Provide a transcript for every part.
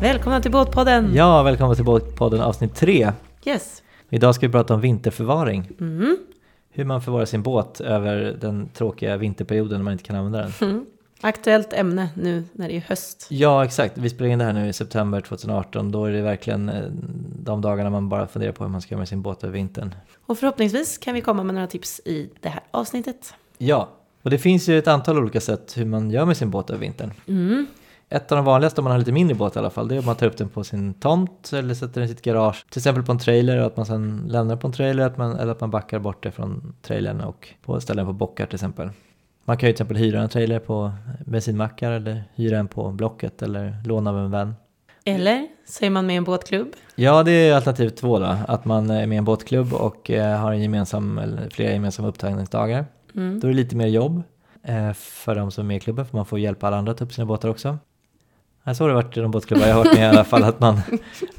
Välkomna till Båtpodden! Ja, välkomna till båtpodden avsnitt 3. Yes. Idag ska vi prata om vinterförvaring. Mm. Hur man förvarar sin båt över den tråkiga vinterperioden när man inte kan använda den. Aktuellt ämne nu när det är höst. Ja, exakt. Vi spelar in det här nu i september 2018. Då är det verkligen eh, de dagarna man bara funderar på hur man ska göra med sin båt över vintern. Och förhoppningsvis kan vi komma med några tips i det här avsnittet. Ja, och det finns ju ett antal olika sätt hur man gör med sin båt över vintern. Mm. Ett av de vanligaste om man har lite mindre båt i alla fall, det är att man tar upp den på sin tomt eller sätter den i sitt garage. Till exempel på en trailer och att man sedan lämnar på en trailer att man, eller att man backar bort det från trailern och på, ställer den på bockar till exempel. Man kan ju till exempel hyra en trailer på bensinmackar eller hyra en på Blocket eller låna av en vän. Eller så är man med i en båtklubb. Ja, det är alternativ två då, att man är med i en båtklubb och eh, har en gemensam, eller flera gemensamma upptagningsdagar. Mm. Då är det lite mer jobb eh, för de som är med i klubben, för man får hjälpa alla andra att ta upp sina båtar också. Ja, Så har det varit i de båtklubbar jag har varit med i alla fall, att man,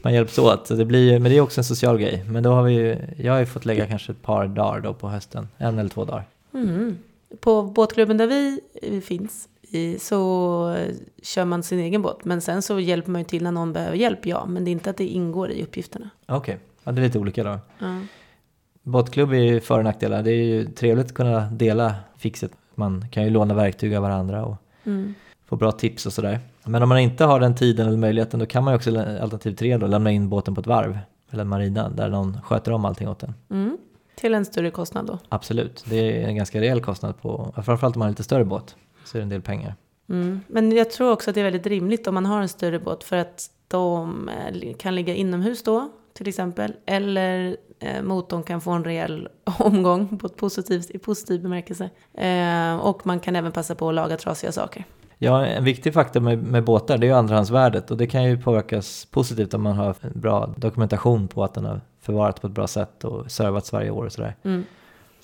man hjälps åt. Så det blir, ju- men det är också en social grej. Men då har vi ju, jag har ju fått lägga kanske ett par dagar då på hösten, en eller två dagar. Mm. På båtklubben där vi eh, finns i, så eh, kör man sin egen båt. Men sen så hjälper man ju till när någon behöver hjälp, ja. Men det är inte att det ingår i uppgifterna. Okej, ja, det är lite olika då. Ja. Båtklubb är ju för och nackdelar. Det är ju trevligt att kunna dela fixet. Man kan ju låna verktyg av varandra och Mm. få bra tips och sådär. Men om man inte har den tiden eller möjligheten då kan man ju också lä- alternativ tre då, lämna in båten på ett varv eller en marina där någon sköter om allting åt den. Mm. Till en större kostnad då. Absolut, det är en ganska rejäl kostnad på, framförallt om man har en lite större båt, så är det en del pengar. Mm. Men jag tror också att det är väldigt rimligt om man har en större båt för att de eh, kan ligga inomhus då till exempel. Eller eh, motorn kan få en rejäl omgång på ett positivt, i positiv bemärkelse. Eh, och man kan även passa på att laga trasiga saker. Ja, en viktig faktor med, med båtar det är ju andrahandsvärdet och det kan ju påverkas positivt om man har en bra dokumentation på att den har förvarats på ett bra sätt och servats varje år och sådär. Mm.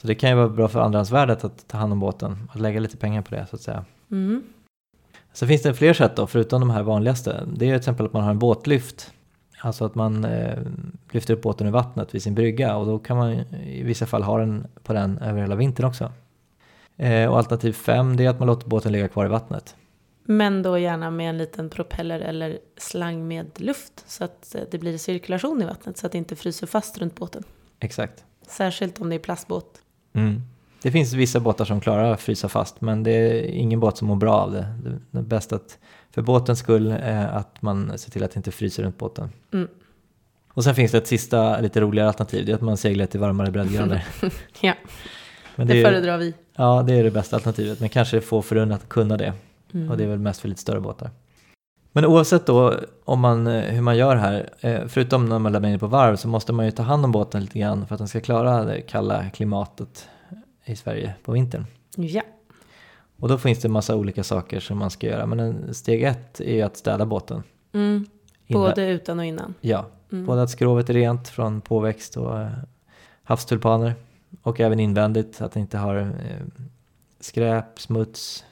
Så det kan ju vara bra för andrahandsvärdet att ta hand om båten, att lägga lite pengar på det så att säga. Mm. Sen finns det fler sätt då, förutom de här vanligaste. Det är ju till exempel att man har en båtlyft. Alltså att man eh, lyfter upp båten ur vattnet vid sin brygga och då kan man i vissa fall ha den på den över hela vintern också. Eh, och alternativ fem, det är att man låter båten ligga kvar i vattnet. Men då gärna med en liten propeller eller slang med luft så att eh, det blir cirkulation i vattnet så att det inte fryser fast runt båten. Exakt. Särskilt om det är plastbåt. Mm. Det finns vissa båtar som klarar att frysa fast men det är ingen båt som mår bra av det. Det- Det är bäst att, för båtens skull eh, att man ser till att det inte fryser runt båten. Mm. Och sen finns det ett sista lite roligare alternativ, det är att man seglar till varmare breddgrader. Ja, Men det är- föredrar vi. Ja, det är det bästa alternativet, men kanske få förunnat att kunna det. Mm. Och det är väl mest för lite större båtar. Men oavsett då om man, eh, hur man gör här, eh, förutom när man lämnar in det på varv så måste man ju ta hand om båten lite grann för att den ska klara det kalla klimatet i Sverige på vintern. Ja. Och då finns det en massa olika saker som man ska göra, men en- steg ett är ju att städa båten. Mm. Innan- Både utan och innan. Ja, Mm. både att skrovet är rent från påväxt och eh, havstulpaner och även invändigt att det inte har eh, skräp, smuts,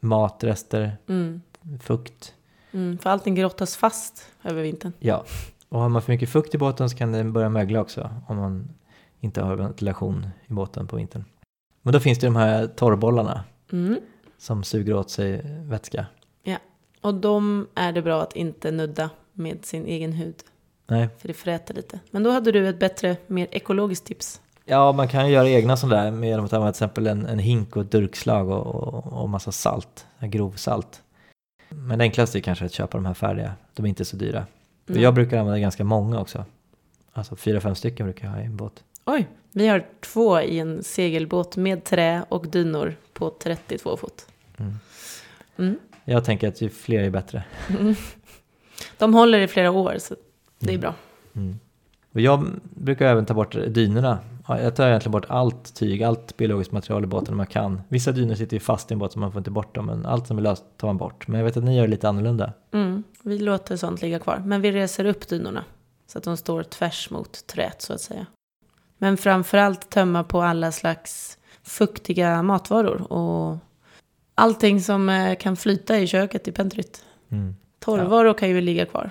matrester, Mm. fukt. Mm. För allting grottas fast över vintern. Ja, och har man för mycket fukt i båten så kan den börja mögla också om man inte har ventilation i båten på vintern. Men då finns det de här torrbollarna Mm. som suger åt sig vätska. Och de är det bra att inte nudda med sin egen hud. Nej. För det fräter lite. Men då hade du ett bättre, mer ekologiskt tips. Ja, man kan ju göra egna sådana där med genom att använda till exempel en, en hink och ett durkslag och, och, och massa salt, grovsalt. Men det enklaste är kanske att köpa de här färdiga, de är inte så dyra. För Mm. Jag brukar använda ganska många också. Alltså fyra, fem stycken brukar jag ha i en båt. Oj, vi har två i en segelbåt med trä och dynor på 32 fot. Mm. Mm. Jag tänker att ju fler ju bättre. De håller i flera år så det är Mm. bra. Mm. Och jag brukar även ta bort dynorna. Ja, Jag tar egentligen bort allt tyg, allt biologiskt material i båten om man kan. Vissa dynor sitter ju fast i en båt så man får inte bort dem, men allt som är löst tar man bort. Men jag vet att ni gör lite annorlunda. Mm. Vi låter sånt ligga kvar, men vi reser upp dynorna så att de står tvärs mot träet så att säga. Men framförallt tömma på alla slags fuktiga matvaror och allting som eh, kan flyta i köket i pentryt. Torrvaror kan ju ligga kvar.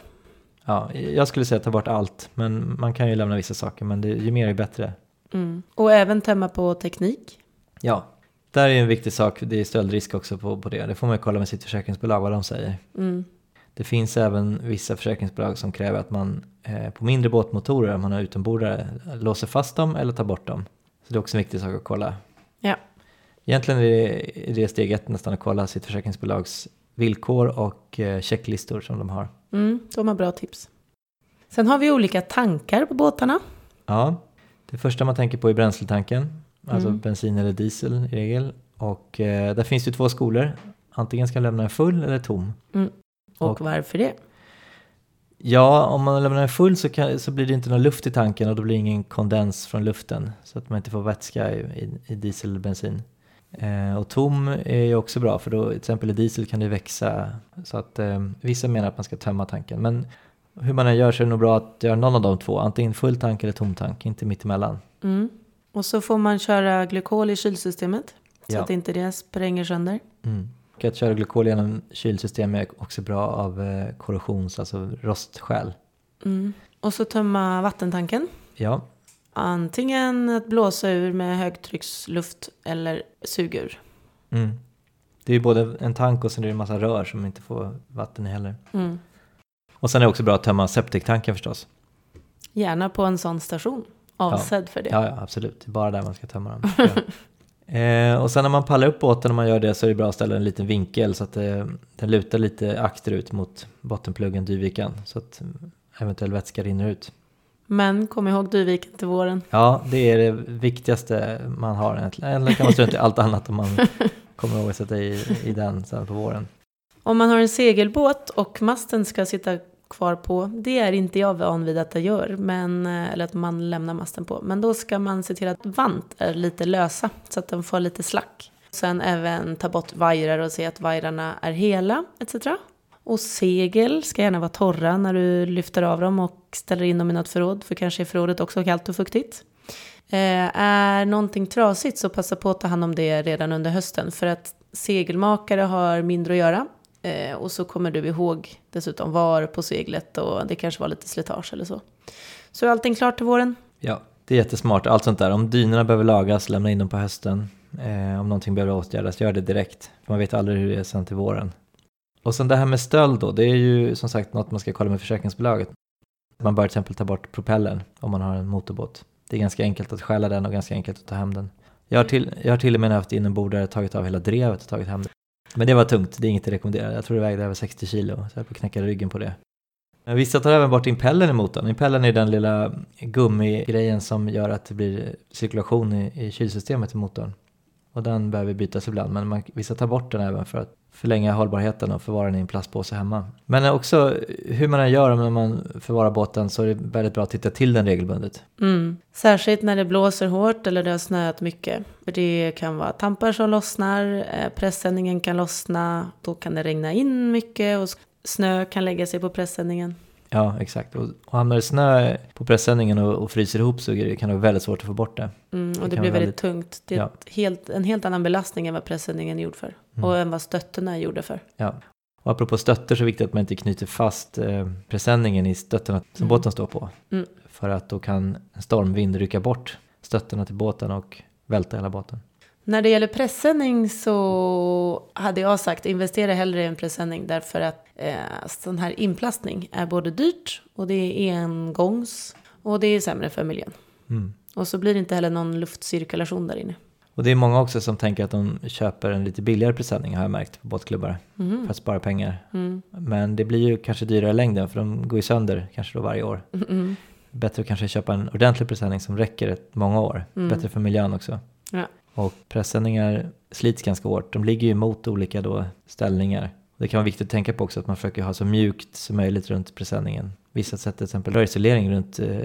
Ja, jag skulle säga ta bort allt, men man kan ju lämna vissa saker, men det, ju mer ju bättre. Mm. Och även tömma på teknik. Ja, där är en viktig sak, det är stöldrisk också på, på det. Det får man ju kolla med sitt försäkringsbolag vad de säger. Mm. Det finns även vissa försäkringsbolag som kräver att man eh, på mindre båtmotorer, om man har utombordare, låser fast dem eller tar bort dem. Så det är också en viktig sak att kolla. Ja. Egentligen är det, är det steg ett nästan att kolla sitt försäkringsbolags villkor och eh, checklistor som de har. Mm, de har bra tips. Sen har vi olika tankar på båtarna. Ja, det första man tänker på är bränsletanken, alltså Mm. bensin eller diesel i regel. Och eh, där finns det ju två skolor, antingen ska man lämna den full eller tom. Mm. Och, Och- varför det? Ja, om man lämnar den full så, kan, så blir det inte någon luft i tanken och då blir det ingen kondens från luften så att man inte får vätska i, i, i diesel eller bensin. Eh, och tom är ju också bra för då till exempel i diesel kan det växa så att eh, vissa menar att man ska tömma tanken men hur man än gör så är det nog bra att göra någon av de två, antingen full tank eller tom tank, inte mitt emellan. Mm. Och så får man köra glykol i kylsystemet. Så Ja. att inte det spränger sönder. Mm. Och att köra glykol genom kylsystem är också bra av eh, korrosions, alltså rostskäl. Mm. Och så tömma vattentanken. Ja, Antingen att blåsa ur med högtrycksluft eller sugur. mm. det är ju både en tank och sen är det en massa rör som inte får vatten i heller. Mm. Och sen är det också bra att tömma septiktanken förstås. Gärna på en sån station. Avsedd för det. Ja, ja absolut. Det är bara där man ska tömma dem. Ja. eh, och sen när man pallar upp båten, om man gör det, så är det bra att ställa en liten vinkel så att eh, den lutar lite akterut mot bottenpluggen, dyvikan, så att mm, eventuell vätska rinner ut. Men kom ihåg Dyviken till våren. Ja, det är det viktigaste man har egentligen. Eller kan man strunta i allt annat om man kommer ihåg att sätta i, i den sen på våren. Om man har en segelbåt och masten ska sitta kvar på, det är inte jag van vid att jag gör, men, eh, eller att man lämnar masten på. Men då ska man se till att vant är lite lösa, så att den får lite slack. Sen även ta bort vajrar och se att vajrarna är hela, etc. Och segel ska gärna vara torra när du lyfter av dem och ställer in dem i något förråd, för kanske är förrådet också kallt och fuktigt. Eh, är någonting trasigt så passa på att ta hand om det redan under hösten för att segelmakare har mindre att göra. Eh, och så kommer du ihåg dessutom var på seglet och det kanske var lite slitage eller så. Så är allting klart till våren? Ja, det är jättesmart. Allt sånt där. Om dynorna behöver lagas, lämna in dem på hösten. Eh, om någonting behöver åtgärdas, gör det direkt. För man vet aldrig hur det är sen till våren. Och sen det här med stöld då, det är ju som sagt något man ska kolla med försäkringsbolaget. Man bör till exempel ta bort propellern om man har en motorbåt. Det är ganska enkelt att stjäla den och ganska enkelt att ta hem den. Jag har till, jag har till och med haft inombordare, tagit av hela drevet och tagit hem det. Men det var tungt, det är inget att rekommendera. Jag tror det vägde över 60 kilo, så jag höll på att knäcka ryggen på det. Men Vissa tar även bort impellen i motorn. Impellen är den lilla gummigrejen som gör att det blir cirkulation i, i kylsystemet i motorn. Och den behöver bytas ibland, men man, vissa tar bort den även för att förlänga hållbarheten och förvara den i en plastpåse hemma. Men också hur man än gör när man förvarar båten så är det väldigt bra att titta till den regelbundet. Mm. Särskilt när det blåser hårt eller det har snöat mycket. För det kan vara tampar som lossnar, eh, pressändningen kan lossna, då kan det regna in mycket och s- snö kan lägga sig på pressändningen. Ja, exakt. Och, och hamnar det snö på pressändningen och, och fryser ihop så är det- kan det vara väldigt svårt att få bort det. Mm, och Det det, kan blir vara väldigt tungt. Det är ja. ett helt, en helt annan belastning än vad pressändningen är gjord för. Mm. Och än vad stötterna är gjorda för. Ja. Och apropå stötter så är det viktigt att man inte knyter fast eh, presenningen i stötterna som Mm. båten står på. Mm. För att då kan en stormvind rycka bort stötterna till båten och välta hela båten. När det gäller pressändning så hade jag sagt investera hellre i en pressändning därför att eh, sån här inplastning är både dyrt och det är engångs och det är sämre för miljön. Mm. Och så blir det inte heller någon luftcirkulation där inne. Och det är många också som tänker att de köper en lite billigare presenning har jag märkt på båtklubbar Mhm. för att spara pengar. Mm. Men det blir ju kanske dyrare i längden för de går ju sönder kanske då varje år. Mm, mm. Bättre att kanske köpa en ordentlig presenning som räcker ett många år. Mm. Bättre för miljön också. Ja. Och pressändningar slits ganska hårt. De ligger ju mot olika då ställningar. Det kan vara viktigt att tänka på också att man försöker ha så mjukt som möjligt runt presenningen. Vissa sätter till exempel rörisolering runt eh,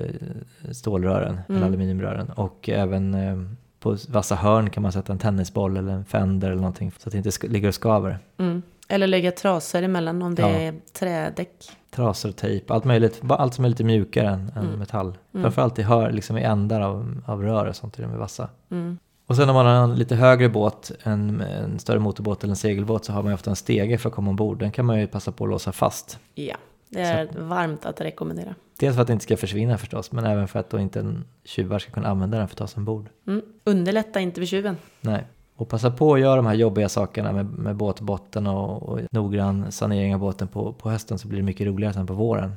stålrören eller Mm. aluminiumrören. Och även eh, på vassa hörn kan man sätta en tennisboll eller en fender eller någonting så att det inte sk- ligger och skaver. Mm. Eller lägga trasor emellan om det Ja. är trädäck. Trasor, tejp, allt möjligt. Bara Allt som är lite mjukare än, än Mm. metall. Mm. Framförallt i, hör, liksom i ändar av, av rör och sånt, till och med vassa. Mm. Och sen om man har en lite högre båt, en, en större motorbåt eller en segelbåt så har man ju ofta en stege för att komma ombord. Den kan man ju passa på att låsa fast. Ja, det är varmt att rekommendera. Dels för att det inte ska försvinna förstås, men även för att då inte en tjuvar ska kunna använda den för att ta sig ombord. Mm. Underlätta inte för tjuven. Nej. Och Och passa på att göra de här jobbiga sakerna med, med båtbotten och, och noggrann sanering av båten på, på hösten så blir det mycket roligare sen på våren.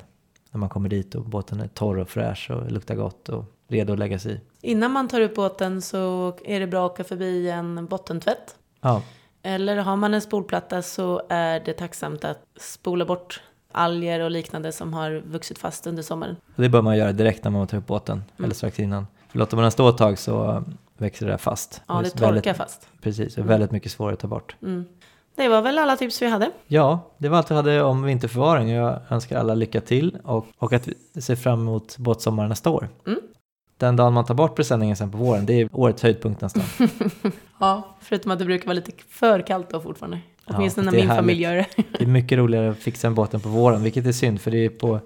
När man kommer dit och båten är torr och fräsch och luktar gott och redo att läggas i. Innan man tar upp båten så är det bra att åka förbi en bottentvätt. Ja, Eller har man en spolplatta så är det tacksamt att spola bort alger och liknande som har vuxit fast under sommaren. och det bör man göra direkt när man tar upp båten Mm. eller strax innan. För låter man den stå ett tag så växer det där fast. Ja, det är väldigt- torkar Mm. fast. Precis, det är väldigt mycket svårare att ta bort. Mm. Det var väl alla tips vi hade. Ja, det var allt vi hade om vinterförvaring. Jag önskar alla lycka till och, och att vi ser fram emot båtsommaren nästa år. Mm. Den dagen man tar bort presenningen sen på våren, det är årets höjdpunkt nästan. Ja, förutom att det brukar vara lite för kallt då fortfarande. Ja, Åtminstone när det är min familj gör det. härligt. Det är mycket roligare att fixa en båten på våren, vilket är synd för det är på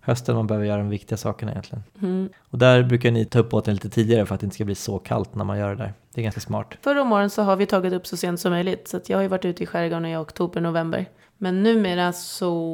hösten man behöver göra de viktiga sakerna egentligen. Mm. Och där brukar ni ta upp båten lite tidigare för att det inte ska bli så kallt när man gör det där. Det är ganska smart. Förra om åren så har vi tagit upp så sent som möjligt. Så att jag har ju varit ute i skärgården i oktober, november. Men numera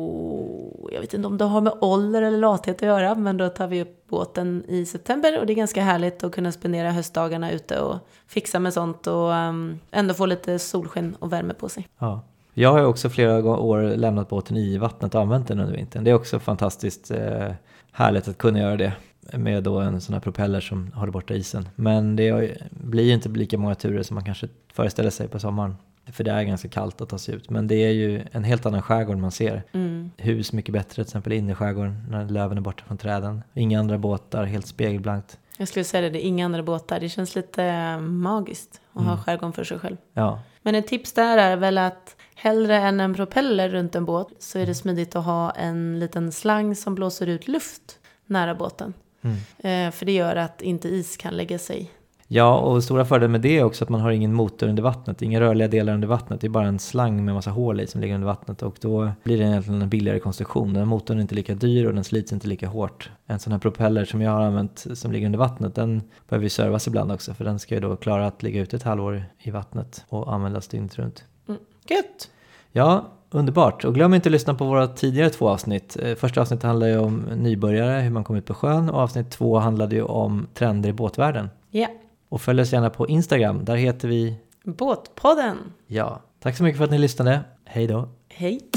så, jag vet inte om det har med ålder eller lathet att göra, men då tar vi upp båten i september och det är ganska härligt att kunna spendera höstdagarna ute och fixa med sånt och ehm, ändå få lite solsken och värme på sig. Ja. Jag har ju också flera gå- år lämnat båten i vattnet och använt den under vintern. Det är också fantastiskt eh, härligt att kunna göra det med då en sån här propeller som håller borta isen. Men det har ju- blir ju inte lika många turer som man kanske föreställer sig på sommaren. För det är ganska kallt att ta sig ut. Men det är ju en helt annan skärgård man ser. Mm. Hus mycket bättre, till exempel inne i skärgården när löven är borta från träden. Inga andra båtar, helt spegelblankt. Jag skulle säga det, det är inga andra båtar. Det känns lite magiskt att ha skärgården för sig själv. Ja, Men ett tips där är väl att hellre än en propeller runt en båt så är det smidigt att ha en liten slang som blåser ut luft nära båten. Mm. Eh, för det gör att inte is kan lägga sig. Ja, och stora fördelen med det är också att man har ingen motor under vattnet, inga rörliga delar under vattnet. Det är bara en slang med massa hål i som ligger under vattnet och då blir det egentligen en billigare konstruktion. Den här motorn är inte lika dyr och den slits inte lika hårt. En sån här propeller som jag har använt som ligger under vattnet, den behöver ju servas ibland också för den ska ju då klara att ligga ute ett halvår i vattnet och användas dygnet runt. Gött! Ja, underbart. Och glöm inte att lyssna på våra tidigare två avsnitt. Eh, Första avsnittet handlade ju om nybörjare, hur man kommer ut på sjön och avsnitt två handlade ju om trender i båtvärlden. Ja, Och följ oss gärna på Instagram, där heter vi Båtpodden! ja. Tack så mycket för att ni lyssnade. Hej då. Hej!